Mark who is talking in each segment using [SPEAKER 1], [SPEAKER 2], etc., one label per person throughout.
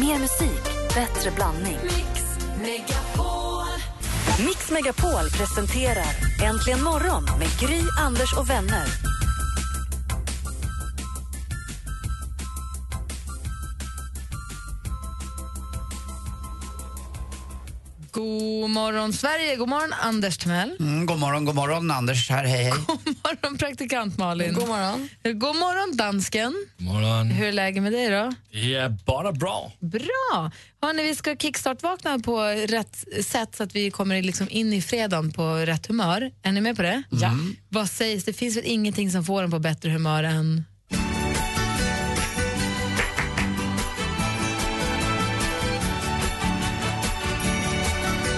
[SPEAKER 1] Mer musik, bättre blandning.
[SPEAKER 2] Mix Megapol.
[SPEAKER 1] Mix Megapol presenterar Äntligen morgon med Gry, Anders och vänner.
[SPEAKER 3] God morgon, Sverige. God morgon, Anders Timell.
[SPEAKER 4] Mm, god morgon, god morgon. Anders här, hej hej.
[SPEAKER 3] God morgon, praktikant Malin.
[SPEAKER 5] God morgon.
[SPEAKER 3] God morgon, dansken.
[SPEAKER 6] Morgon.
[SPEAKER 3] Hur är läget med dig? då?
[SPEAKER 6] Det är bara bra.
[SPEAKER 3] Bra! Hörrni, vi ska kickstart-vakna på rätt sätt så att vi kommer liksom in i fredagen på rätt humör. Är ni med på det? Ja. Vad sägs? Det finns väl ingenting som får en på bättre humör än...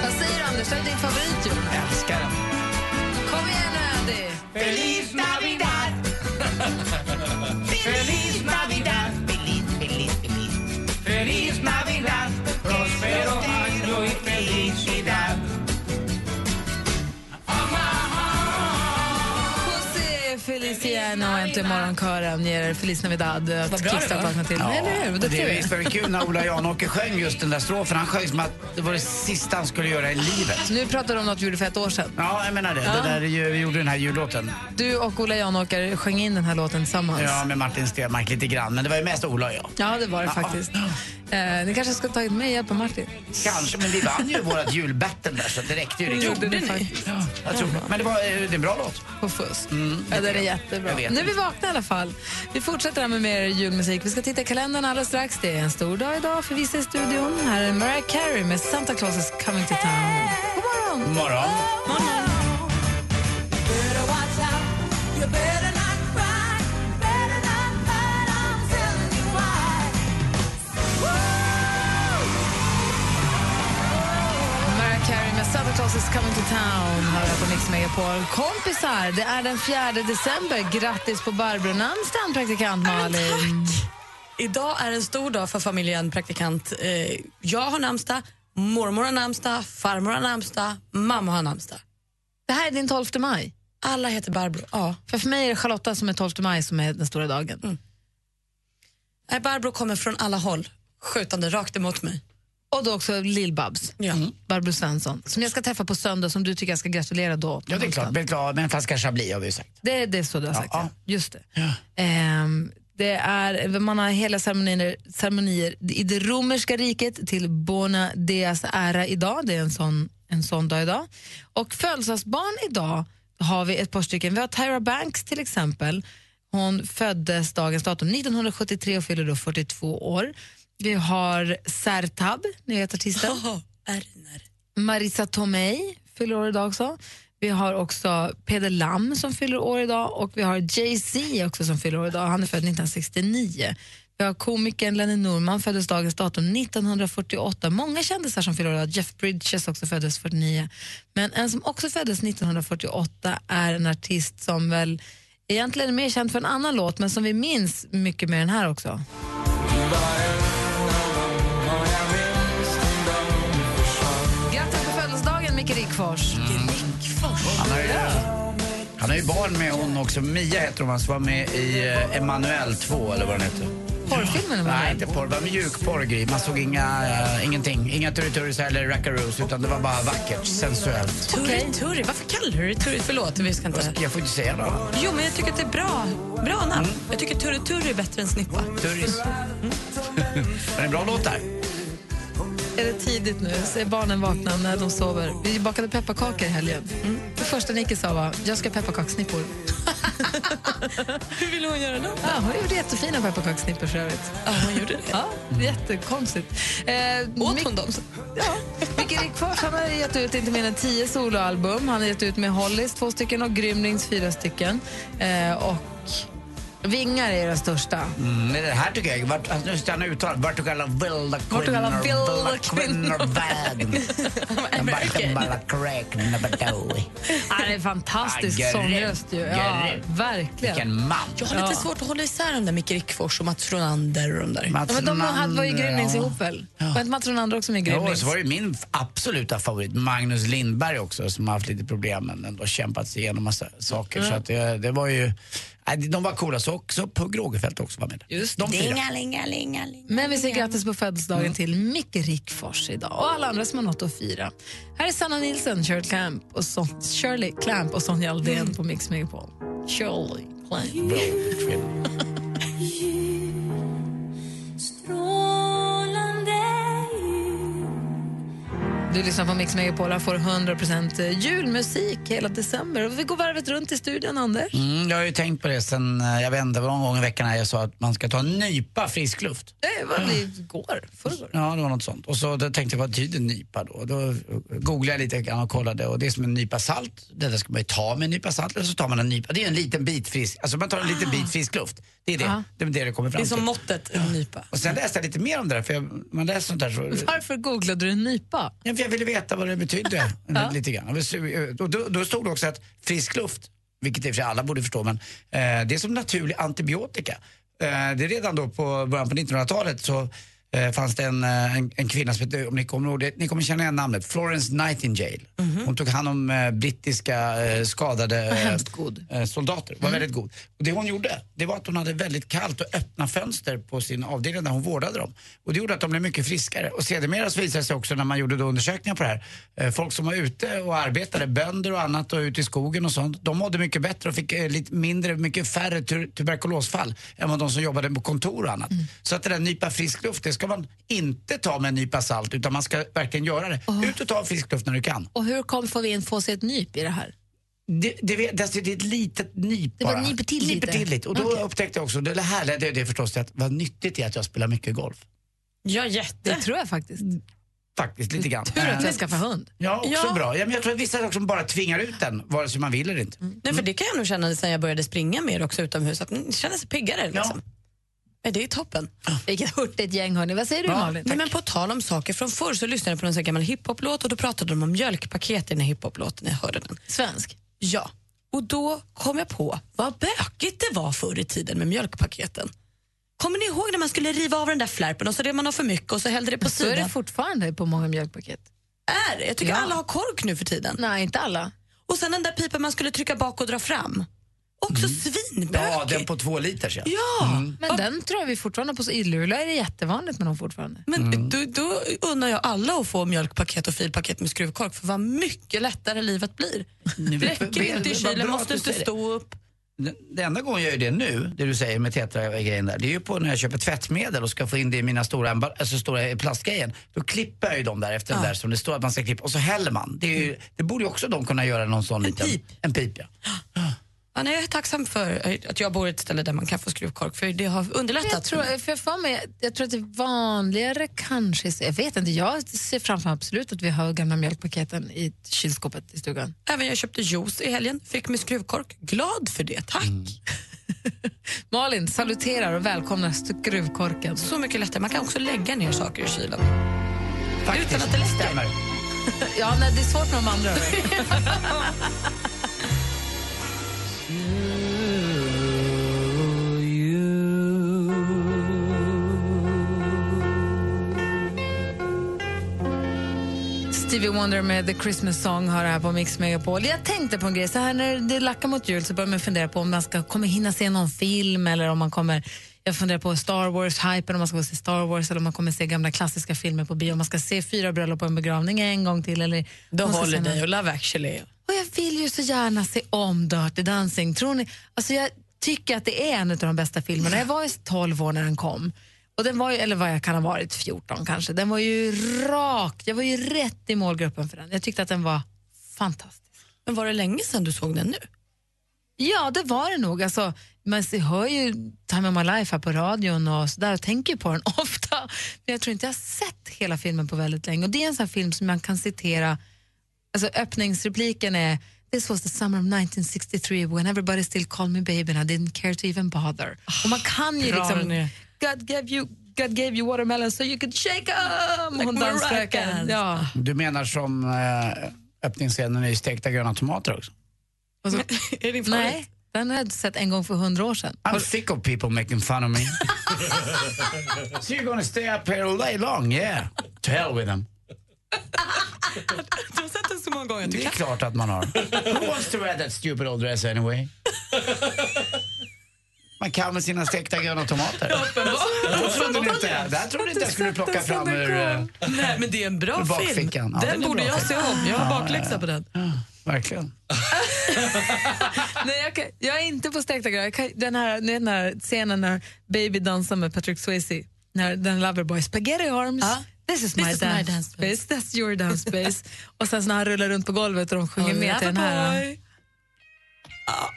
[SPEAKER 3] Vad säger du, Anders? Det är din favorit, ju.
[SPEAKER 4] Älskar den.
[SPEAKER 3] Kom igen nu, Andy!
[SPEAKER 4] Feliz Navidad! Feliz Navidad! Feliz, feliz, feliz. Feliz Navidad! Prospero año y felicidad.
[SPEAKER 3] José Feliciano och Äntligen morgonkören ger er Feliz Navidad. Vad bra det var. Till. Ja, Eller hur?
[SPEAKER 4] och
[SPEAKER 3] Det
[SPEAKER 4] det
[SPEAKER 3] tror
[SPEAKER 4] är
[SPEAKER 3] jag.
[SPEAKER 4] visst var det kul när Ola Janåker sjöng just den där strofen. Han sjöng som att det var det sista han skulle göra i livet.
[SPEAKER 3] Nu pratar du om något du gjorde för ett år sedan.
[SPEAKER 4] Ja, jag menar det. Det där är ju, vi gjorde den här jullåten.
[SPEAKER 3] Du och Ola Janåker sjöng in den här låten tillsammans.
[SPEAKER 4] Ja, med Martin Stenmarck lite grann. Men det var ju mest Ola och jag.
[SPEAKER 3] Ja, det var det faktiskt. Eh, ni kanske ska ha tagit med hjälp av Martin.
[SPEAKER 4] Kanske, men vi vann ju vårt julbattle där så det räckte ju. Liksom.
[SPEAKER 3] ni? faktiskt.
[SPEAKER 4] Jag tror, det. men det, var, eh, det är en bra låt.
[SPEAKER 3] På fusk. ja, den är jättebra.
[SPEAKER 4] Mm. Jag vet.
[SPEAKER 3] Nu är vi vakna i alla fall. Vi fortsätter här med mer julmusik. Vi ska titta i kalendern alldeles strax. Det är en stor dag idag för vissa i studion. Här är Mariah Carey med Santa Claus is coming to town. God morgon!
[SPEAKER 4] God morgon.
[SPEAKER 2] Better watch out. You better not cry. Better not fight. I'm telling you why.
[SPEAKER 3] Mariah Carey med Santa Claus is coming to town hör jag på Mix Megapol. Kompisar, det är den 4 december. Grattis på Barbro namnsdagen, praktikant Malin.
[SPEAKER 5] Idag är en stor dag för familjen Praktikant. Eh, Jag har namnsdag, mormor har namnsdag, farmor har namnsdag, mamma har namnsdag.
[SPEAKER 3] Det här är din 12 maj.
[SPEAKER 5] Alla heter Barbro. Ja. Mm.
[SPEAKER 3] För, för mig är det Charlotta som är 12 maj som är den stora dagen.
[SPEAKER 5] Nej, Barbro kommer från alla håll, skjutande rakt emot mig.
[SPEAKER 3] Och då också Lill-Babs,
[SPEAKER 5] Ja.
[SPEAKER 3] Barbro Svensson, som jag ska träffa på söndag som du tycker jag ska gratulera då. på
[SPEAKER 4] Ja, det är klart.
[SPEAKER 3] namnsdagen.
[SPEAKER 4] Bli glad med en flaska Chablis har vi ju sagt.
[SPEAKER 3] Det, det är så du har sagt, ja.
[SPEAKER 4] Ja.
[SPEAKER 3] Just det. Ehm, det är, man har hela ceremonier, ceremonier i det romerska riket till Bona Deas ära idag. Det är en sån, en sån dag idag. Och födelsedagsbarn idag har vi ett par stycken. Vi har Tyra Banks till exempel. Hon föddes dagens datum 1973 och fyller då 42 år. Vi har Sertab, ni vet artisten.
[SPEAKER 5] Jaha, Erner.
[SPEAKER 3] Marisa Tomei fyller år idag också. Vi har också Peder Lam som fyller år idag och vi har Jay-Z också som fyller år idag. Han är född 1969. Vi har komikern Lenny Norman föddes dagens datum 1948. Många kändisar som fyller år idag. Jeff Bridges också föddes 49. Men en som också föddes 1948 är en artist som väl egentligen är mer känd för en annan låt men som vi minns mycket med den här också. Grattis på födelsedagen Micke Rickfors.
[SPEAKER 4] Mm. Han har ju, han har ju barn med hon också. Mia heter hon, som var med i eh, Emanuel 2 eller vad den heter.
[SPEAKER 3] Porrfilmen var
[SPEAKER 4] Nej,
[SPEAKER 3] med.
[SPEAKER 4] inte porr. Det var mjukporr, Gry. Man såg inga, eh, ingenting. Inga turrituris eller rackaroos, utan det var bara vackert, sensuellt.
[SPEAKER 5] Turri, Turri, varför kallar du det Turri? Förlåt, vi ska inte...
[SPEAKER 4] Jag får inte säga då.
[SPEAKER 5] Jo, men jag tycker att det är bra, bra namn. Jag tycker Turri Turri är bättre än Snippa.
[SPEAKER 4] Turris.
[SPEAKER 3] Mm.
[SPEAKER 4] Var det en bra låt där?
[SPEAKER 3] Är det tidigt nu? Så är barnen vakna när de sover. Vi bakade pepparkakor i helgen. Mm. Det första Nike sa var jag ska ha pepparkakssnippor.
[SPEAKER 5] Hur vill hon göra då?
[SPEAKER 3] Ja, hon gjorde jättefina pepparkakssnippor för övrigt.
[SPEAKER 5] Ja, hon gjorde det.
[SPEAKER 3] Ja, jättekonstigt. Eh,
[SPEAKER 5] Åt
[SPEAKER 3] Mick-
[SPEAKER 5] hon dem?
[SPEAKER 3] Ja. Micke Rickfors han har gett ut inte mindre än tio soloalbum. Han har gett ut med Hollies två stycken och Grymlings fyra stycken. Eh, och Vingar är det största.
[SPEAKER 4] Mm, men det här tycker jag. Vart, alltså, nu ska han uttala. Vart du kallar vilda kvinnor.
[SPEAKER 3] Vart du kallar vilda
[SPEAKER 4] kvinnor. Världen. Vart bara kräkna badoj.
[SPEAKER 3] Han är en fantastisk
[SPEAKER 4] Ja, grym.
[SPEAKER 3] sångröst. Ju. Ja,
[SPEAKER 4] Grym.
[SPEAKER 3] verkligen.
[SPEAKER 4] Vilken man.
[SPEAKER 5] Jag har lite
[SPEAKER 3] Ja.
[SPEAKER 5] svårt att hålla isär de där Micke Rickfors och Mats Frölander och de där.
[SPEAKER 4] Mats
[SPEAKER 3] Ja, men de hade, var ju
[SPEAKER 4] Ronander,
[SPEAKER 3] Grymlings
[SPEAKER 4] ja.
[SPEAKER 3] ihop väl? Var inte Mats Ronander också med i
[SPEAKER 4] Ja,
[SPEAKER 3] Grymlings?
[SPEAKER 4] så var det ju min f- absoluta favorit, Magnus
[SPEAKER 5] Mm.
[SPEAKER 4] Lindberg också, som har haft lite problem men ändå kämpat sig igenom massa saker. Så att eh, det, det var ju, Nej, de var coola så också på Grågefält också var med. Just de fyra.
[SPEAKER 3] Men vi säger grattis på födelsedagen till Micke Rickfors idag och alla andra som har något att fira. Här är Sanna Nilsson, Shirley Clamp och, Son- Shirley Clamp och Sonja Aldén på Mix Megapol. Shirley Clamp.
[SPEAKER 4] Bra film.
[SPEAKER 3] Du lyssnar på Mix Megapol, här får du 100% julmusik hela december. Och vi går varvet runt i studion, Anders.
[SPEAKER 4] Mm, jag har ju tänkt på det sen, eh, jag vet inte, det var någon gång i veckan när jag sa att man ska ta en nypa frisk luft.
[SPEAKER 3] Det var det igår, förrgår.
[SPEAKER 4] Ja, det var något sånt. Och så då tänkte jag, vad betyder nypa då? Då googlade jag lite grann och kollade och det är som en nypa salt. Det där ska man ju ta med en nypa salt eller så tar man en nypa. Det är en liten bit frisk, alltså man tar en liten bit frisk luft. Det är det, det, är det det kommer fram
[SPEAKER 5] Ah. Det är som
[SPEAKER 4] till.
[SPEAKER 5] måttet en nypa.
[SPEAKER 4] Och sen läste jag lite mer om det där, för jag, man läser sånt där så...
[SPEAKER 3] Varför googlade du nypa?
[SPEAKER 4] Ja, för jag ville veta vad det betydde. lite grann. Och då, då stod det också att frisk luft, vilket i och för sig alla borde förstå, men eh, det är som naturlig antibiotika. Eh, det är redan då på början på 1900-talet så eh, fanns det en, eh, en, en kvinna som hette, om ni kommer ihåg det, ni kommer känna igen namnet, Florence Nightingale.
[SPEAKER 3] Mhm.
[SPEAKER 4] Hon tog hand om eh, brittiska eh, skadade
[SPEAKER 3] hemskt god. Mhm.
[SPEAKER 4] eh, soldater. Var väldigt god. Och det hon gjorde, det var att hon hade väldigt kallt och öppna fönster på sin avdelning där hon vårdade dem. Och det gjorde att de blev mycket friskare. Och sedermera så visade det sig också när man gjorde då undersökningar på det här, eh, folk som var ute och arbetade, bönder och annat och ute i skogen och sånt, de mådde mycket bättre och fick eh, lite mindre, mycket färre tu- tuberkulosfall än vad de som jobbade på kontor och annat. Så att det där nypa frisk luft, det ska man inte ta med en nypa salt utan man ska verkligen göra det. Ut och ta frisk luft när du kan.
[SPEAKER 3] Och hur kom, får vi in få se ett nyp i det här?
[SPEAKER 4] Det, det, vet- det, är ett litet nyp
[SPEAKER 3] Det var
[SPEAKER 4] bara.
[SPEAKER 3] nyper till
[SPEAKER 4] Nyper
[SPEAKER 3] lite.
[SPEAKER 4] till lite. Och då upptäckte jag också, det här ledde jag det förstås till att vad nyttigt det är att jag spelar mycket golf.
[SPEAKER 5] Ja,
[SPEAKER 3] Det
[SPEAKER 5] jätte.
[SPEAKER 3] tror jag faktiskt.
[SPEAKER 4] Faktiskt lite grann.
[SPEAKER 3] Tur att
[SPEAKER 4] Eh,
[SPEAKER 3] jag skaffade hund.
[SPEAKER 4] Ja, också
[SPEAKER 5] Ja.
[SPEAKER 4] bra. Ja, men jag tror att vissa saker som bara tvingar ut den, vare sig man vill eller inte.
[SPEAKER 3] Mm.
[SPEAKER 5] Nej, för det kan jag nog känna sen jag började springa mer också utomhus, att man känner sig piggare. Liksom. Men det är toppen.
[SPEAKER 3] Vilket hurtigt gäng, hörni. Vad säger du, Malin?
[SPEAKER 5] Nej, men på tal om saker från förr så lyssnade jag på en sån här gammal hiphop-låt och då pratade de om mjölkpaket i den här hiphop-låten. Jag hörde den.
[SPEAKER 3] Svensk?
[SPEAKER 5] Ja, och då kom jag på vad bökigt det var förr i tiden med mjölkpaketen. Kommer ni ihåg när man skulle riva av den där flärpen och så rev man av för mycket och så hällde det på
[SPEAKER 3] Så är det
[SPEAKER 5] sidan?
[SPEAKER 3] fortfarande på många mjölkpaket.
[SPEAKER 5] Är det? Jag tycker
[SPEAKER 3] Ja.
[SPEAKER 5] alla har kork nu för tiden.
[SPEAKER 3] Nej, inte alla.
[SPEAKER 5] Och sen den där pipen man skulle trycka bak och dra fram. Också
[SPEAKER 3] Mm.
[SPEAKER 4] Ja, den
[SPEAKER 5] svinbökigt.
[SPEAKER 4] på två liters ja.
[SPEAKER 5] Ja,
[SPEAKER 3] Men den tror jag vi fortfarande på. Så Illula är det jättevanligt med dem fortfarande.
[SPEAKER 5] men då, då unnar jag alla att få mjölkpaket och filpaket med skruvkork för vad mycket lättare livet blir.
[SPEAKER 4] Ni vet-
[SPEAKER 5] Räcker
[SPEAKER 4] vet-
[SPEAKER 5] inte i
[SPEAKER 4] vad bra
[SPEAKER 5] kylen,
[SPEAKER 4] att du
[SPEAKER 5] måste inte
[SPEAKER 4] säger det.
[SPEAKER 5] stå upp.
[SPEAKER 4] Den- Det enda gången jag gör det nu, det du säger med tetra-grejen där, det är ju på när jag köper tvättmedel och ska få in det i mina stora, emball- alltså stora plastgrejen. Då klipper jag ju dem där efter den där som det står att man ska klippa och så häller man. Det, är
[SPEAKER 3] Mm.
[SPEAKER 4] ju, det borde ju också de kunna göra någon sån en liten...
[SPEAKER 5] pip.
[SPEAKER 4] En pip. ja.
[SPEAKER 5] Ja, nej, jag är tacksam för eh, att jag bor i ett ställe där man kan få skruvkork för det har underlättat.
[SPEAKER 3] Jag tror, för jag, får mig, jag tror att det är vanligare kanske. Jag vet inte, jag ser framför mig absolut att vi har gamla mjölkpaketen i kylskåpet i stugan.
[SPEAKER 5] Även jag köpte juice i helgen, fick med skruvkork. Glad för det, tack.
[SPEAKER 3] Malin saluterar och välkomnar skruvkorken.
[SPEAKER 5] Så mycket lättare. Man kan också lägga ner saker i kylen.
[SPEAKER 4] Faktiskt.
[SPEAKER 5] Utan att det läcker.
[SPEAKER 4] Stämmer.
[SPEAKER 3] Ja, nej, det är svårt med de andra. Stevie Wonder med The Christmas Song har det här på Mix Megapol. Jag tänkte på en grej, så här när det lackar mot jul så börjar man fundera på om man ska, kommer hinna se någon film eller om man kommer, jag funderar på Star Wars-hypen, om man ska gå och se Star Wars eller om man kommer se gamla klassiska filmer på bio, om man ska se fyra bröllop och en begravning en gång till eller...
[SPEAKER 5] The
[SPEAKER 3] om man ska se någon-
[SPEAKER 5] Holiday och Love actually.
[SPEAKER 3] och jag vill ju så gärna se om Dirty Dancing. Tror ni? Alltså jag tycker att det är en av de bästa filmerna. Jag var ju 12 år när den kom. Och den var ju, eller vad jag kan ha varit, 14 kanske. Den var ju rak. Jag var ju rätt i målgruppen för den. Jag tyckte att den var fantastisk.
[SPEAKER 5] Men var det länge sedan du såg den nu?
[SPEAKER 3] Ja, det var det nog. Alltså, man ser- hör ju Time of My Life här på radion och så där och tänker på den ofta. Men jag tror inte jag har sett hela filmen på väldigt länge. Och Det är en sån här film som man kan citera. Alltså, öppningsrepliken är This was the summer of 1963 when everybody still called me baby and I didn't care to even bother. Och man kan ju
[SPEAKER 5] Ah, bra
[SPEAKER 3] liksom
[SPEAKER 5] den är.
[SPEAKER 3] God gave you, God gave you watermelon so you could shake 'em! Hon
[SPEAKER 5] Like Mariah
[SPEAKER 3] dansröken.
[SPEAKER 5] Carey. Ah,
[SPEAKER 3] Ja.
[SPEAKER 4] Du menar som eh, öppningsscenen i stekta gröna tomater också?
[SPEAKER 5] Alltså, är din
[SPEAKER 3] Nej, den har jag sett en gång för hundra år sedan.
[SPEAKER 4] I'm sick of people making fun of me. so you're gonna stay up here all day long, yeah. To hell with them.
[SPEAKER 5] Du har sett den så många gånger. Du
[SPEAKER 4] Det är
[SPEAKER 5] kan.
[SPEAKER 4] klart att man har. Who wants to wear that stupid old dress anyway? Man kan med sina stekta gröna tomater. Det trodde ni inte. Det här trodde ni inte jag skulle plocka fram ur... eh,
[SPEAKER 5] Nej, men det är en bra film.
[SPEAKER 4] Bakfickan. Ja,
[SPEAKER 5] den
[SPEAKER 4] den är
[SPEAKER 5] borde
[SPEAKER 4] bra
[SPEAKER 5] jag
[SPEAKER 4] film.
[SPEAKER 5] se om. Jag har bakläxa på den.
[SPEAKER 4] Verkligen.
[SPEAKER 3] Nej, jag, kan, jag är inte på stekta grödor. Jag kan- Den här, ni vet den här scenen när Baby dansar med Patrick Swayze, när den Loverboy, spaghetti arms,
[SPEAKER 5] Ja.
[SPEAKER 3] this is
[SPEAKER 5] This
[SPEAKER 3] my
[SPEAKER 5] is my
[SPEAKER 3] dance,
[SPEAKER 5] dance
[SPEAKER 3] space. that's your dance space. och sen så när han rullar runt på golvet och de sjunger med till den här.
[SPEAKER 5] Oh, Loverboy. Ja,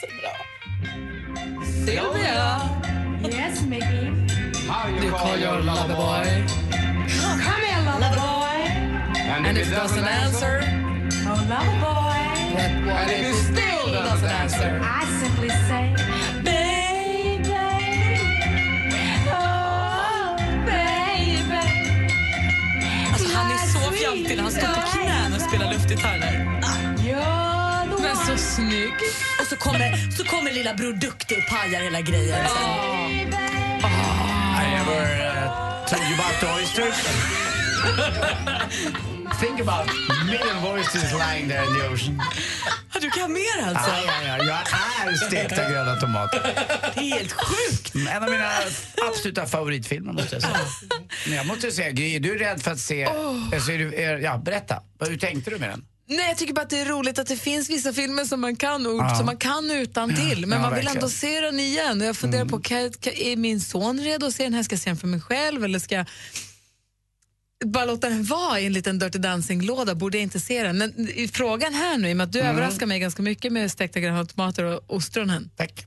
[SPEAKER 5] så bra. Sylvia!
[SPEAKER 7] Yes, Mickey.
[SPEAKER 3] You call your Loverboy
[SPEAKER 7] Come here, lover boy.
[SPEAKER 3] and if it doesn't answer,
[SPEAKER 7] Oh, lover boy.
[SPEAKER 3] that one if it still doesn't answer.
[SPEAKER 7] I simply say, baby. Oh, baby.
[SPEAKER 5] Alltså, han är så fjantig när han står på knän och spelar luftgitarr där.
[SPEAKER 7] You're the
[SPEAKER 3] Men
[SPEAKER 7] one.
[SPEAKER 3] så snygg!
[SPEAKER 5] Och så kommer, så kommer lilla Bror Duktig och pajar hela grejen. sen.
[SPEAKER 4] I ever uh, told you about the oysters? Think about million oysters lying there in the ocean.
[SPEAKER 5] Ja, du kan mer alltså.
[SPEAKER 4] Ja, ja, ja. Jag är stekta gröna tomater.
[SPEAKER 5] Det är helt sjukt.
[SPEAKER 4] En av mina absoluta favoritfilmer måste jag säga. Men jag måste säga, Gry, är du rädd för att se... Alltså, är du, är, ja, berätta, Vad- hur tänkte du med den?
[SPEAKER 3] Nej, jag tycker bara att det är roligt att det finns vissa filmer som man kan ord
[SPEAKER 4] Ja.
[SPEAKER 3] som man kan utan till. men
[SPEAKER 4] Ja,
[SPEAKER 3] man vill
[SPEAKER 4] verkligen. Mm.
[SPEAKER 3] ändå se den igen. Och jag funderar på, kan, jag- kan, är min son redo att se den här? Ska jag se den för mig själv eller ska jag bara låta den vara i en liten Dirty Dancing-låda? Borde jag inte se den? Men i- frågan här nu, i och med att du
[SPEAKER 4] Mm.
[SPEAKER 3] överraskar mig ganska mycket med stekta gröna tomater och ostronen.
[SPEAKER 4] Tack.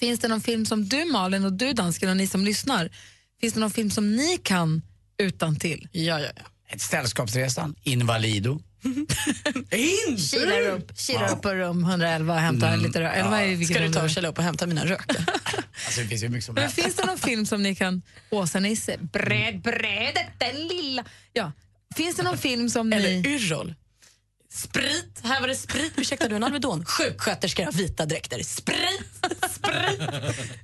[SPEAKER 3] Finns det någon film som du Malin och du dansken och ni som lyssnar, finns det någon film som ni kan utan till?
[SPEAKER 5] Ja, ja, ja.
[SPEAKER 4] Ett Sällskapsresan, Invalido.
[SPEAKER 3] Kilar
[SPEAKER 5] Mm.
[SPEAKER 3] upp, kilar upp på rum 111 och hämtar
[SPEAKER 4] Mm.
[SPEAKER 3] lite rö- eller vad är det, vilket
[SPEAKER 5] Ska du
[SPEAKER 3] rum
[SPEAKER 5] ta
[SPEAKER 3] det
[SPEAKER 5] och
[SPEAKER 3] är?
[SPEAKER 5] källa upp och hämta mina rökare?
[SPEAKER 4] Alltså, det finns ju mycket som
[SPEAKER 3] Men
[SPEAKER 4] helst.
[SPEAKER 3] finns det någon film som ni kan... Åsa-Nisse, bräd, brädet, den lilla... Ja. Finns det någon film som
[SPEAKER 5] Eller
[SPEAKER 3] ni...
[SPEAKER 5] Yrrol? Sprit! Här var det sprit. Ursäkta, du en Alvedon? Sjuksköterskor har vita dräkter. Sprit!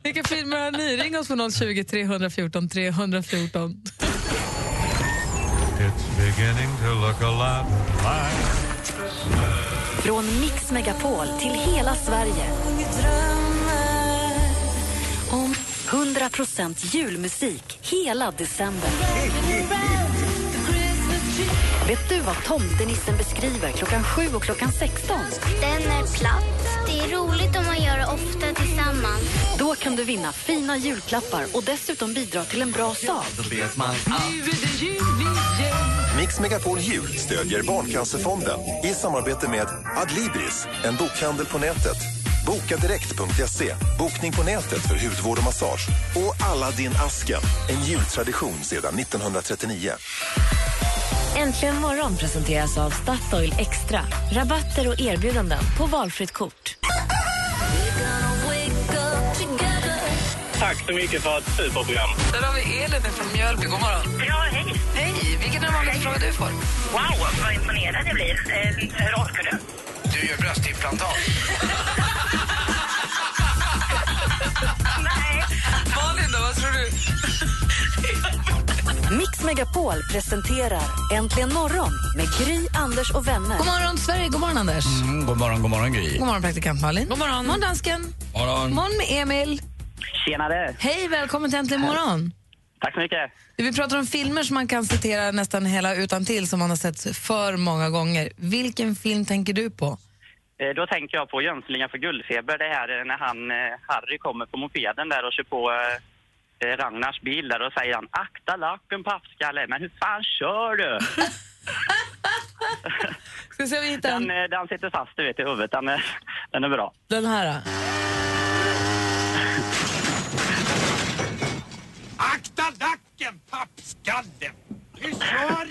[SPEAKER 3] Vilka filmer har ni? Ring oss på 020 314 314.
[SPEAKER 8] It's beginning to look a lot like
[SPEAKER 1] Från Mix Megapol till hela Sverige. 100% julmusik hela december. Vet du vad tomtenissen beskriver klockan 7 och klockan 16?
[SPEAKER 9] Den är platt. Det är roligt om man gör det ofta tillsammans.
[SPEAKER 1] Då kan du vinna fina julklappar och dessutom bidra till en bra sak.
[SPEAKER 10] Mix Megapol Jul stödjer Barncancerfonden i samarbete med Adlibris, en bokhandel på nätet bokadirekt.se, E. bokning på nätet för hudvård och massage och alla din asken, en jultradition sedan 1939.
[SPEAKER 1] Äntligen morgon presenteras av Statoil Extra. Rabatter och erbjudanden på valfritt kort.
[SPEAKER 11] Tack så mycket för ett superprogram.
[SPEAKER 3] Där har vi Elin från Mjölby. God morgon.
[SPEAKER 11] Ja, hej.
[SPEAKER 3] Hej! Vilken är den vanligaste frågan du får?
[SPEAKER 11] Wow, vad imponerad jag blir. Eh, hur orkar du?
[SPEAKER 4] Du gör bröstimplantat.
[SPEAKER 11] Nej.
[SPEAKER 3] Malin, då, vad tror du?
[SPEAKER 1] Mix Megapol presenterar Äntligen morgon med Gry, Anders och vänner.
[SPEAKER 3] God morgon, Sverige. God morgon, Anders.
[SPEAKER 4] Mm, god morgon, god morgon, Gry.
[SPEAKER 3] God morgon, praktikant Malin. God morgon. morgon, dansken.
[SPEAKER 6] Morgon.
[SPEAKER 3] morgon med Emil.
[SPEAKER 11] Tjenare.
[SPEAKER 3] Hej, välkommen till Äntligen morgon.
[SPEAKER 11] Tack så mycket.
[SPEAKER 3] Vi pratar om filmer som man kan citera nästan hela utan till som man har sett för många gånger. Vilken film tänker du på?
[SPEAKER 11] Eh, Då tänker jag på Jönslingar för guldfeber. Det här är när han, eh, Harry kommer på mopeden där och kör på eh, eh, Ragnars bil där och säger han akta lacken pappskalle, men hur fan kör du?
[SPEAKER 3] Ska vi se om vi hittar
[SPEAKER 11] Den,
[SPEAKER 3] den,
[SPEAKER 11] eh, den sitter fast du vet i huvudet. Den är, den är bra.
[SPEAKER 3] den här. Då.
[SPEAKER 4] Akta nacken, pappskalle! Hur kör du?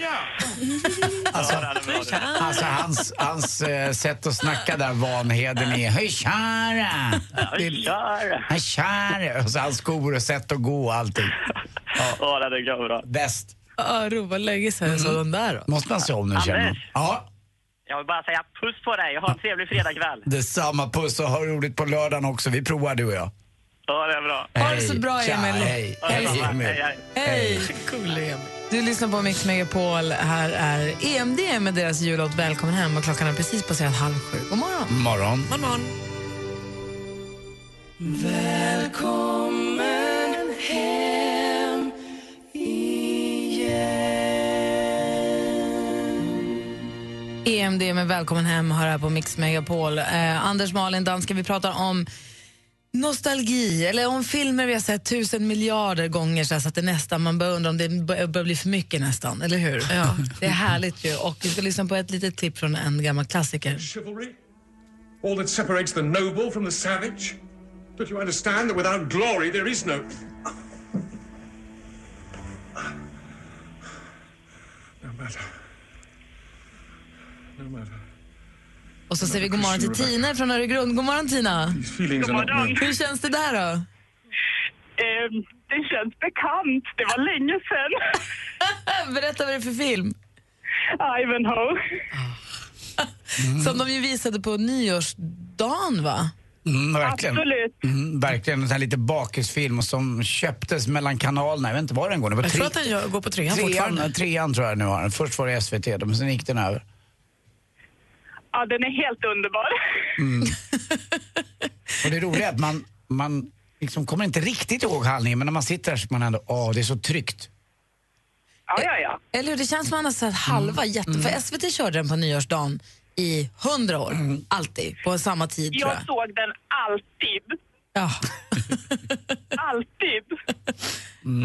[SPEAKER 11] Ja, den är bra. du.
[SPEAKER 4] Alltså hans, hans eh, sätt att snacka där, Vanheden, är hej kära!
[SPEAKER 11] Hur
[SPEAKER 4] Det-
[SPEAKER 11] kör du?
[SPEAKER 4] Hej kära! Och så hans skor och sätt att gå och allting.
[SPEAKER 11] Ja, den är bra.
[SPEAKER 4] Bäst.
[SPEAKER 3] Ah, ro, vad länge sedan jag såg den där. Då.
[SPEAKER 4] Måste man se om nu känner man.
[SPEAKER 11] Anders.
[SPEAKER 4] Ja,
[SPEAKER 11] Jag vill bara säga puss på dig och ha en trevlig fredagkväll.
[SPEAKER 4] detsamma. Puss och ha roligt på lördagen också. Vi provar du och jag.
[SPEAKER 11] Ja, det är bra.
[SPEAKER 3] Ha det så bra,
[SPEAKER 4] Tja,
[SPEAKER 3] Emil.
[SPEAKER 4] Hej,
[SPEAKER 11] Ja, det är
[SPEAKER 4] hej,
[SPEAKER 11] bra.
[SPEAKER 4] Emil.
[SPEAKER 11] Hej, hej.
[SPEAKER 3] Hej! Du lyssnar på Mix Megapol. Här är EMD med deras jullåt Välkommen hem och klockan har precis passerat halv sju. God morgon!
[SPEAKER 4] Morgon.
[SPEAKER 5] Morgon, morgon.
[SPEAKER 2] Välkommen hem
[SPEAKER 3] EMD E med Välkommen hem hör här på Mix Megapol. Eh, Anders, Malin, Dansken, vi pratar om nostalgi eller om filmer vi har sett tusen miljarder gånger så, här, så att det nästan, man börjar undra om det bör- börjar bli för mycket nästan, eller hur? Ja. Det är härligt ju och vi ska lyssna på ett litet tips från en gammal klassiker.
[SPEAKER 12] Chivalry? All that separates the noble from the savage? Don't you understand that without glory there is no. No matter. No matter.
[SPEAKER 3] Och så säger vi god morgon till Tina från Öregrund. God morgon Tina!
[SPEAKER 12] feelings are not God morgon. known.
[SPEAKER 3] Hur känns det där då?
[SPEAKER 13] det känns bekant. Det var länge sedan.
[SPEAKER 3] Berätta vad det är för film.
[SPEAKER 13] Ivanhoe.
[SPEAKER 3] Som de ju visade på nyårsdagen va?
[SPEAKER 4] Mm, verkligen.
[SPEAKER 13] Absolut.
[SPEAKER 4] Mm, verkligen. En sån här lite bakisfilm som köptes mellan kanalerna. Jag vet inte var den går nu.
[SPEAKER 5] Jag tror att den gör- går på trean fortfarande.
[SPEAKER 4] Trean tror jag nu har den. Först var det SVT, men sen gick den över.
[SPEAKER 13] Ja, den är helt underbar.
[SPEAKER 4] Mm. och det roliga är att man, man liksom kommer inte riktigt ihåg handlingen, men när man sitter där så man ändå, åh, det är så tryggt.
[SPEAKER 13] Ja, ja, ja.
[SPEAKER 3] Eller hur? Det känns som att man har sett
[SPEAKER 5] Mm.
[SPEAKER 3] halva jätte... För SVT körde den på nyårsdagen i hundra år.
[SPEAKER 5] Mm.
[SPEAKER 3] Alltid. På samma tid, tror
[SPEAKER 13] Jag
[SPEAKER 3] jag.
[SPEAKER 13] såg den alltid.
[SPEAKER 3] Ja.
[SPEAKER 13] alltid.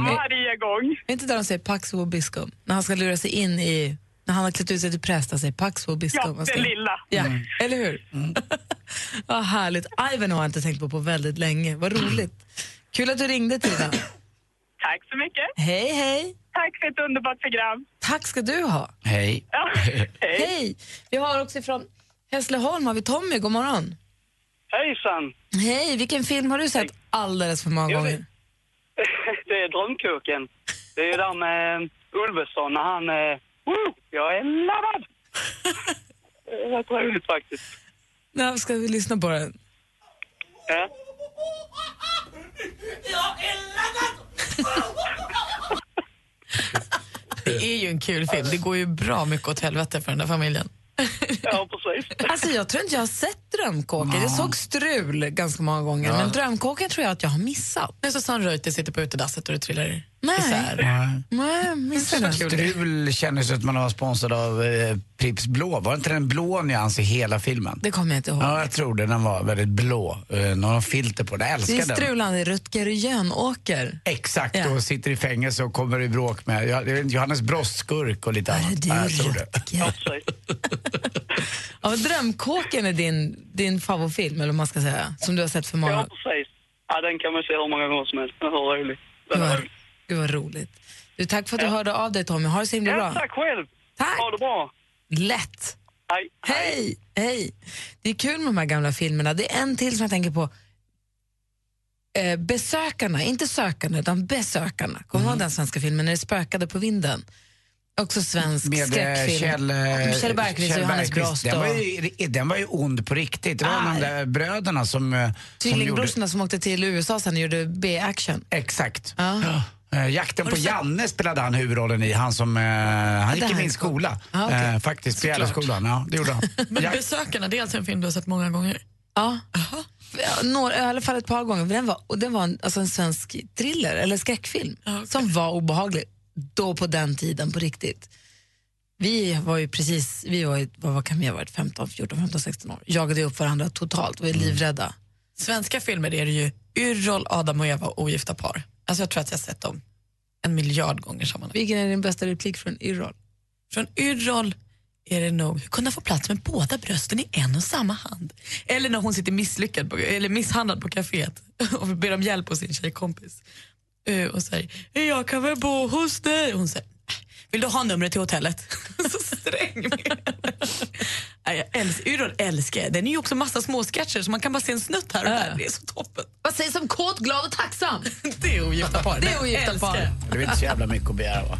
[SPEAKER 13] Varje gång.
[SPEAKER 3] Mm. Är inte där de säger Pax Vobiscum? När han ska lura sig in i... När han har klätt ut sig till präst, han säger Pax Vobiscum.
[SPEAKER 13] Ja,
[SPEAKER 3] Han ska-
[SPEAKER 13] den lilla.
[SPEAKER 3] Ja, eller hur? Vad härligt. Ivan har jag inte tänkt på på väldigt länge. Vad roligt. Kul att du ringde, Tina.
[SPEAKER 13] Tack så mycket.
[SPEAKER 3] Hej, hej.
[SPEAKER 13] Tack för ett underbart program.
[SPEAKER 3] Tack ska du ha.
[SPEAKER 4] Hej.
[SPEAKER 13] Ja.
[SPEAKER 3] Hej. Vi har också från Hässleholm har vi Tommy. God morgon.
[SPEAKER 14] Hejsan!
[SPEAKER 3] Hej, vilken film har du sett alldeles för många
[SPEAKER 14] Jag
[SPEAKER 3] gånger?
[SPEAKER 14] vet. Det är drömkoken. Det är ju där med Ulveson när han... eh, Woo! Jag är laddad! Det är rätt roligt faktiskt.
[SPEAKER 3] När ska vi lyssna på den?
[SPEAKER 14] Ja.
[SPEAKER 5] Det är ju en kul film. Det går ju bra mycket åt helvete för den där familjen.
[SPEAKER 14] Ja, precis.
[SPEAKER 3] Alltså jag tror inte jag har sett Drömkåken. Jag såg Strul ganska många gånger,
[SPEAKER 5] Ja.
[SPEAKER 3] men Drömkåken tror jag att jag har missat.
[SPEAKER 5] När Susanne Reuter sitter på utedasset och det trillar
[SPEAKER 3] Nej.
[SPEAKER 5] isär.
[SPEAKER 4] Nej.
[SPEAKER 3] Nej, missade den.
[SPEAKER 4] Strul kändes som att man var sponsrad av eh, Pripps blå. Var inte den blå nyans i hela filmen?
[SPEAKER 3] Det kommer jag inte ihåg.
[SPEAKER 4] Ja, jag tror det. Den var väldigt blå. Eh, Någon filter på den. Jag
[SPEAKER 3] Det är
[SPEAKER 4] älskar den.
[SPEAKER 3] Strulan, det är Rutger Jönåker.
[SPEAKER 4] Exakt, och sitter i fängelse och kommer i bråk med jag- det är Johannes Brost skurk och lite annat.
[SPEAKER 3] du,
[SPEAKER 4] Ja, jag tror det.
[SPEAKER 3] Ja, men Drömkåken är din, din favoritfilm, eller vad man ska säga, som du har sett för många
[SPEAKER 14] Ja, precis. Ja, den kan man se hur många gånger som helst. Den var rolig. Den var rolig.
[SPEAKER 3] Gud vad roligt. Du, tack för att du hörde av dig Tommy, ha det så himla
[SPEAKER 14] Ja,
[SPEAKER 3] bra.
[SPEAKER 14] tack själv!
[SPEAKER 3] Tack.
[SPEAKER 14] Ha det bra!
[SPEAKER 3] Lätt.
[SPEAKER 14] Hej!
[SPEAKER 3] Hej! Hej! Det är kul med de här gamla filmerna. Det är en till som jag tänker på. Eh, besökarna, inte sökarna, utan besökarna. Kommer
[SPEAKER 4] Mm.
[SPEAKER 3] du ihåg den svenska filmen när det spökade på vinden? Också svensk
[SPEAKER 4] Med eh,
[SPEAKER 3] skräckfilm.
[SPEAKER 4] Kjell, eh,
[SPEAKER 3] Kjell Bergqvist och
[SPEAKER 4] Kjell
[SPEAKER 3] Johannes Brost.
[SPEAKER 4] Bergqvist. Den var,
[SPEAKER 3] och-
[SPEAKER 4] ju, den var ju ond på riktigt. Det var
[SPEAKER 3] Ah.
[SPEAKER 4] de där bröderna som, eh, som gjorde...
[SPEAKER 3] Tvillingbrorsorna som åkte till USA sen och gjorde B-action.
[SPEAKER 4] Exakt.
[SPEAKER 3] Ja.
[SPEAKER 4] Eh, jakten
[SPEAKER 3] Har
[SPEAKER 4] på
[SPEAKER 3] du sett-
[SPEAKER 4] Janne spelade han huvudrollen i. Han som... Eh, han gick
[SPEAKER 5] där
[SPEAKER 4] i
[SPEAKER 5] har
[SPEAKER 4] min
[SPEAKER 5] jag
[SPEAKER 4] skola.
[SPEAKER 5] Ah, okej.
[SPEAKER 4] eh, faktiskt, på skolan. Ja, det gjorde han.
[SPEAKER 5] Men
[SPEAKER 4] Jak-
[SPEAKER 5] Besökarna, det är alltså en film du har sett många gånger?
[SPEAKER 3] Ja. Ja, Några, I alla fall ett par gånger. för Den var, och den var en, alltså en svensk thriller, eller skräckfilm, som var obehaglig. Då på den tiden, på riktigt. Vi var ju precis, vi var ju, vad, vad kan vi ha varit, 15, 14, 15, 16 år. Jagade upp varandra totalt, var ju livrädda.
[SPEAKER 5] Svenska filmer är det ju Yrrol, Adam och Eva och Ogifta par. Alltså jag tror att jag har sett dem en miljard gånger sammanlagt.
[SPEAKER 3] Vilken är din bästa replik från Yrrol?
[SPEAKER 5] Från Yrrol är det nog, hur kunde jag få plats med båda brösten i en och samma hand? Eller när hon sitter misslyckad på, eller misshandlad på kaféet och ber om hjälp hos sin tjejkompis. Eh, Och säger, jag kan väl bo hos dig? Hon säger, "Äh, vill du ha numret till hotellet? Så sträng med henne. Nej, jag älskar, Yrrol älskar jag. Den är ju också massa små sketcher så man kan bara se en snutt här och där. Det är så toppen.
[SPEAKER 3] Äh. Vad sägs om kåt, glad och tacksam?
[SPEAKER 5] Det är ogifta par.
[SPEAKER 3] Det är ogifta par.
[SPEAKER 5] Älskar.
[SPEAKER 4] Det är inte så jävla mycket att begära va?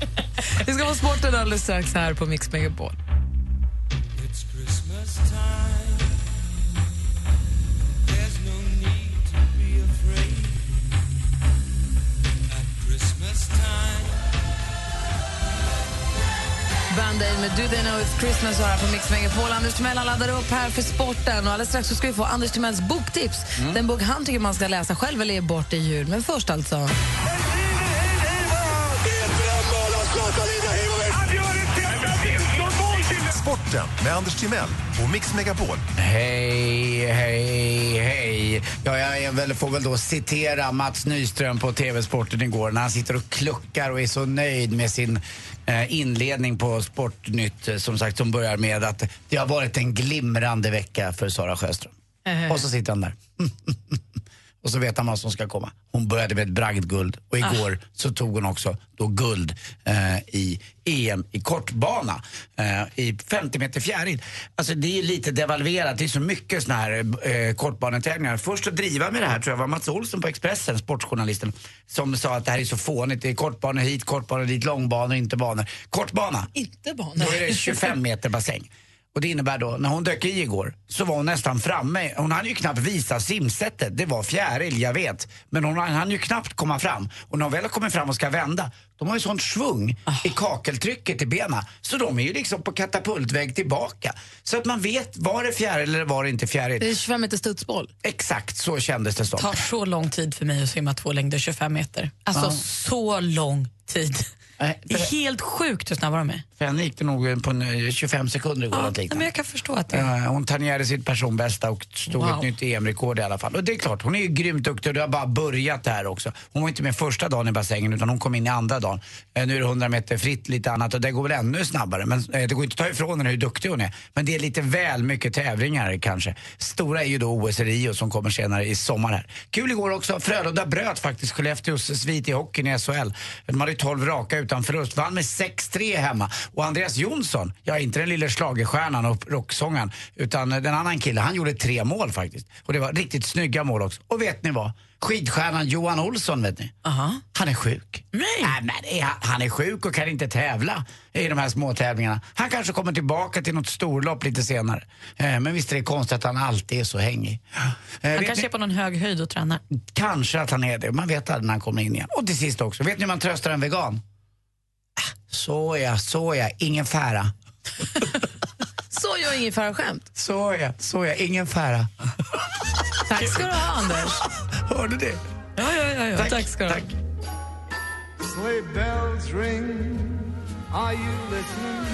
[SPEAKER 3] Vi ska få sporten alldeles strax här på Mix Megapol.
[SPEAKER 2] It's Christmas time. There's no need to be afraid. At Christmas time.
[SPEAKER 3] Van Dale med Do They Know It's Christmas här på Mix Megapol. Anders Timell han laddar upp här för sporten och alldeles strax så ska vi få Anders Timells boktips.
[SPEAKER 2] Mm.
[SPEAKER 3] Den bok han tycker man ska läsa själv eller ge bort i jul. Men först alltså.
[SPEAKER 10] Sporten med Anders Timell och Mix Megapol.
[SPEAKER 4] Hej, hej, hej. Ja, jag är väl, får väl då citera Mats Nyström på TV-sporten igår när han sitter och kluckar och är så nöjd med sin eh, inledning på Sportnytt eh, som sagt som börjar med att det har varit en glimrande vecka för Sara Sjöström. Och så sitter han där. Mm. Och så vet han vad som ska komma. Hon började med ett bragdguld och igår så tog hon också då guld eh, i EM i kortbana eh, i 50 meter fjäril. Alltså det är lite devalverat, det är så mycket såna här eh, kortbanetävlingar. Först att driva med det här tror jag var Mats Olsson på Expressen, sportjournalisten, som sa att det här är så fånigt. Det är kortbanor hit, kortbanor dit, långbanor, inte banor. Kortbana,
[SPEAKER 3] Inte barn.
[SPEAKER 4] då är det 25 meter bassäng. Och det innebär då, när hon dök i igår så var hon nästan framme. Hon hade ju knappt visa simsättet. Det var fjäril, jag vet. Men hon hann ju knappt komma fram. Och när hon väl har kommit fram och ska vända, de har ju sånt svung
[SPEAKER 5] Ah.
[SPEAKER 4] i kakeltrycket i benen. Så de är ju liksom på katapultväg tillbaka. Så att man vet, var det fjäril eller var det inte fjäril?
[SPEAKER 3] Det är 25 meter studsboll.
[SPEAKER 4] Exakt så kändes det som.
[SPEAKER 5] tar så lång tid för mig att simma två längder 25 meter. Alltså
[SPEAKER 4] Ja.
[SPEAKER 5] så lång tid. Det är helt sjukt hur snabba de är.
[SPEAKER 4] För henne gick det nog på en, eh, 25 sekunder igår. något liknande.
[SPEAKER 5] Men jag kan förstå att det
[SPEAKER 4] Eh, Hon tangerade sitt personbästa och slog
[SPEAKER 5] Wow.
[SPEAKER 4] ett nytt EM-rekord i alla fall. Och det är klart, hon är ju grymt duktig och det har bara börjat det här också. Hon var inte med första dagen i bassängen utan hon kom in i andra dagen. Eh, Nu är det 100 meter fritt, lite annat och det går väl ännu snabbare. Men eh, det går inte att ta ifrån henne hur duktig hon är. Men det är lite väl mycket tävlingar kanske. Stora är ju då OS i Rio som kommer senare i sommar här. Kul igår också, Frölunda bröt faktiskt Skellefteås svit i hockeyn i SHL. De hade ju 12 raka utan förlust, vann med 6-3 hemma. Och Andreas Jonsson, ja inte den lille schlagerstjärnan och rocksångaren, utan den annan killen, han gjorde tre mål faktiskt. Och det var riktigt snygga mål också. Och vet ni vad? Skidstjärnan Johan Olsson, vet ni? Han är sjuk. Nej. men är han- han är sjuk och kan inte tävla i de här små tävlingarna. Han kanske kommer tillbaka till något storlopp lite senare. Eh, Men visst är det konstigt att han alltid är så hängig. Eh,
[SPEAKER 5] Han
[SPEAKER 4] vet
[SPEAKER 5] kanske
[SPEAKER 4] ni-
[SPEAKER 5] är på någon hög höjd och tränar.
[SPEAKER 4] Kanske att han är det. Man vet aldrig när han kommer in igen. Och till sist också, vet ni hur man tröstar en vegan? Ah, Såja, såja, ingen fära.
[SPEAKER 3] Så gör ingefära skämt.
[SPEAKER 4] Såja, såja, ingen fära.
[SPEAKER 3] Tack ska du ha, Anders.
[SPEAKER 4] Hörde du det?
[SPEAKER 5] Ja, ja, ja. ja. Tack. ska du ha.
[SPEAKER 2] Sleigh bells ring. Are you listening?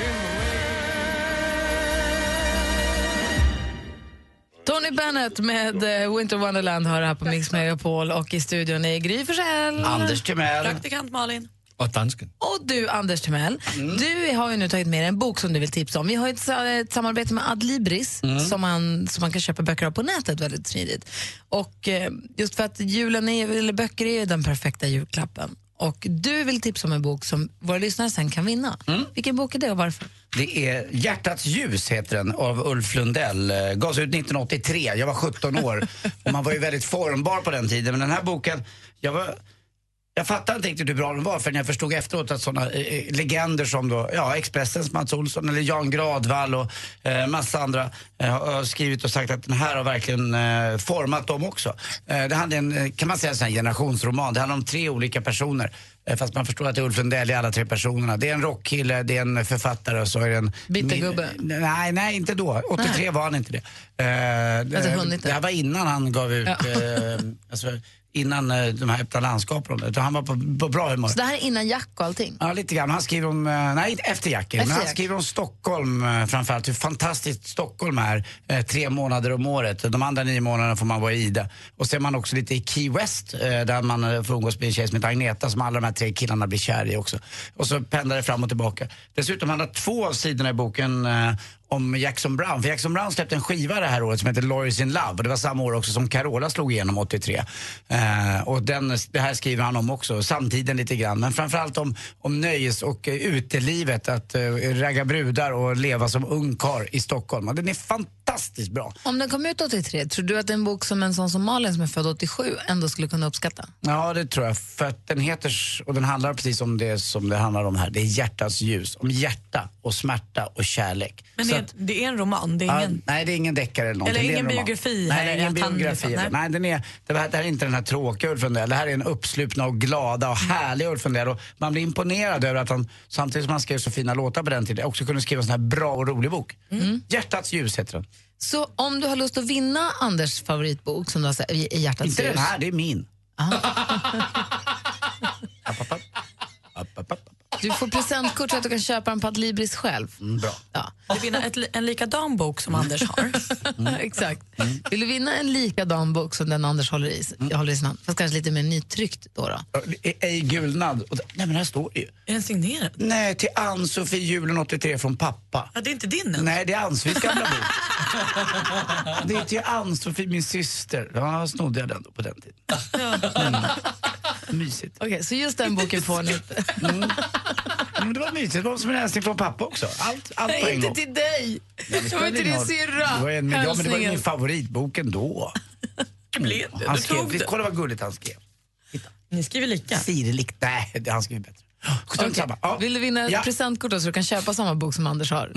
[SPEAKER 2] In the
[SPEAKER 3] Tony Bennett med eh, Winter Wonderland hör här på Mix Megapol och i studion är Gry Forssell.
[SPEAKER 4] Anders Timell.
[SPEAKER 5] Praktikant Malin.
[SPEAKER 6] Och dansken.
[SPEAKER 3] Och du, Anders Timell, du har ju nu tagit med dig en bok som du vill tipsa om. Vi har ju ett, sa- ett samarbete med Adlibris
[SPEAKER 2] Mm.
[SPEAKER 3] som, man, som man kan köpa böcker av på nätet väldigt smidigt. Och eh, just för att julen är, eller böcker är ju den perfekta julklappen. Och du vill tipsa om en bok som våra lyssnare sen kan vinna. Vilken bok är det och varför?
[SPEAKER 4] Det är Hjärtats ljus heter den av Ulf Lundell. Eh, Gavs ut 1983, jag var 17 år. Och man var ju väldigt formbar på den tiden. Men den här boken, jag var... Jag fattade inte riktigt hur bra den var för när jag förstod efteråt att sådana eh, legender som då, ja, Expressens Mats Olsson eller Jan Gradvall och eh, massa andra eh, har har skrivit och sagt att den här har verkligen eh, format dem också. Eh, det handlar en, eh, kan man säga, en sån här generationsroman. Det handlar om tre olika personer. Eh, fast man förstår att det är Ulf Lundell i alla tre personerna. Det är en rockkille, det är en författare och så är det en...
[SPEAKER 3] Bittergubbe.
[SPEAKER 4] Min, nej, nej, inte då. 83 var han inte det. Eh,
[SPEAKER 3] Alltså, hunnit det.
[SPEAKER 4] det här var innan han gav ut,
[SPEAKER 3] Ja.
[SPEAKER 4] eh, alltså, innan eh, de här öppna landskapen. Utan Han var på, på bra humör.
[SPEAKER 3] Så det här är innan Jack och allting?
[SPEAKER 4] Ja, lite grann. Han skriver om, eh, nej inte efter Jackie,
[SPEAKER 3] Efter
[SPEAKER 4] men han
[SPEAKER 3] Jack.
[SPEAKER 4] skriver om Stockholm eh, framförallt. Hur fantastiskt Stockholm är eh, tre månader om året. De andra nio månaderna får man vara i Ida. Och sen är man också lite i Key West eh, där man eh, får umgås med en tjej som heter Agneta som alla de här tre killarna blir kär i också. Och så pendlar det fram och tillbaka. Dessutom handlar två av sidorna i boken eh, om Jackson Brown. För Jackson Brown släppte en skiva det här året som heter Lawyers in Love. Och det var samma år också som Carola slog igenom 83. Eh, och den, det här skriver han om också, samtiden lite grann. Men framförallt om, om nöjes och eh, utelivet, att eh, ragga brudar och leva som ungkar i Stockholm. Och den är fantastiskt bra.
[SPEAKER 3] Om den kom ut 83, tror du att en bok som en sån som Malin som är född 87 ändå skulle kunna uppskatta?
[SPEAKER 4] Ja, det tror jag. För att den heter, och den handlar precis om det som det handlar om här. Det är hjärtats ljus. Om hjärta och smärta och kärlek.
[SPEAKER 5] Men
[SPEAKER 4] Så så
[SPEAKER 5] är,
[SPEAKER 4] att-
[SPEAKER 5] det är en roman, det är
[SPEAKER 4] Ja,
[SPEAKER 5] ingen...
[SPEAKER 4] Ah, nej, det är ingen deckare eller någonting.
[SPEAKER 5] Eller
[SPEAKER 4] det är
[SPEAKER 5] ingen
[SPEAKER 4] en roman.
[SPEAKER 5] biografi
[SPEAKER 4] Nej,
[SPEAKER 5] här,
[SPEAKER 4] det är ingen
[SPEAKER 5] att han-
[SPEAKER 4] biografi.
[SPEAKER 5] nej.
[SPEAKER 4] Nej, den är, det, här, det här är inte den här tråkiga Ulf Lundell. Det här är en uppslupna och glada och härliga Ulf Lundell. Och man blir imponerad över att han, samtidigt som han skrev så fina låtar på den tiden, också kunde skriva en sån här bra och rolig bok.
[SPEAKER 5] Mm.
[SPEAKER 4] Hjärtats ljus heter den.
[SPEAKER 3] Så om du har lust att vinna Anders favoritbok som du har sett i i hjärtats
[SPEAKER 4] Inte den
[SPEAKER 3] ljus.
[SPEAKER 4] här, det är min.
[SPEAKER 5] Ah.
[SPEAKER 3] Du får presentkort så att du kan köpa den på Adlibris själv.
[SPEAKER 4] Mm, bra.
[SPEAKER 5] Du vinner ett, li- en likadan bok som Anders har.
[SPEAKER 4] Mm.
[SPEAKER 3] Exakt. Vill du vinna en likadan bok som den Anders håller i,
[SPEAKER 4] Mm.
[SPEAKER 3] håller i sin hand, fast kanske lite mer nytryckt då? då.
[SPEAKER 4] Ä- Ej gulnad. Och det- Nej men här står det ju.
[SPEAKER 5] Är den signerad?
[SPEAKER 4] Nej, till Ann-Sofie julen 83 från pappa.
[SPEAKER 5] Ja, det är inte din än.
[SPEAKER 4] Nej, det är Ann-Sofies gamla bok. Det är till Ann-Sofie, min syster. Ja, snodde jag den då på den tiden. Mm. Mysigt.
[SPEAKER 3] Okej, så just den boken får ni.
[SPEAKER 4] Mm. Men det var mysigt. Det var som en hälsning från pappa också. Allt, allt på en gång.
[SPEAKER 3] till dig!
[SPEAKER 4] Ja, det spelar ingen roll. Det var en- Ja, men det var ju min favoritbok ändå.
[SPEAKER 5] Det blev det.
[SPEAKER 4] Han
[SPEAKER 5] Du tog
[SPEAKER 4] skrev,
[SPEAKER 5] det.
[SPEAKER 4] kolla vad gulligt han skrev.
[SPEAKER 5] Ni skriver lika.
[SPEAKER 4] Sirligt. Nej, det- han skrev bättre. Strunt samma. Ja.
[SPEAKER 3] Vill du vinna ett
[SPEAKER 4] Ja. Mm.
[SPEAKER 3] presentkort då, så du kan köpa samma bok som Anders har?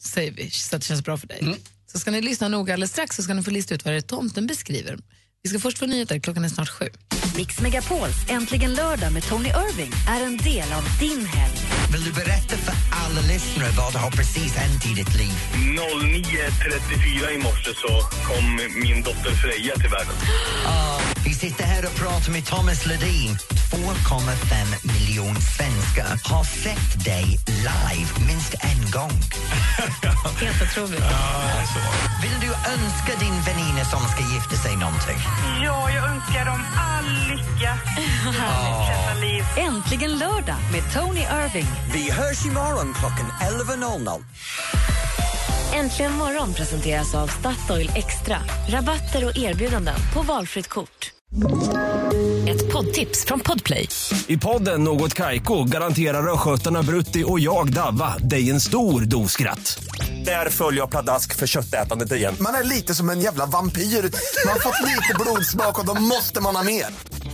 [SPEAKER 3] Säger vi, så att det känns bra för dig. Så ska ni lyssna noga alldeles strax så ska ni få lista ut vad det är tomten beskriver. Vi ska först få nyheter, klockan är snart sju.
[SPEAKER 1] Mix Megapols Äntligen lördag med Tony Irving är en del av din helg.
[SPEAKER 15] Vill du berätta för alla lyssnare vad har precis hänt i ditt liv?
[SPEAKER 16] 09.34 i morse så kom min dotter Freja till världen.
[SPEAKER 15] Ah, Vi sitter här och pratar med Thomas Ledin. 2,5 miljoner svenskar har sett dig live minst en gång.
[SPEAKER 3] Helt otroligt.
[SPEAKER 15] Vill du önska din väninna som ska gifta sig någonting?
[SPEAKER 13] Ja, jag önskar dem all lycka.
[SPEAKER 1] Äntligen lördag med Tony Irving.
[SPEAKER 17] Vi hörs imorgon klockan 11.00.
[SPEAKER 1] Äntligen morgon presenteras av Statoil Extra. Rabatter och erbjudanden på valfritt kort. Ett poddtips från Podplay.
[SPEAKER 18] I podden Något Kaiko garanterar östgötarna Brutti och jag, Davva, dig en stor dos skratt. Där följer jag pladask för köttätandet igen.
[SPEAKER 19] Man är lite som en jävla vampyr. Man har fått lite blodsmak och då måste man ha mer.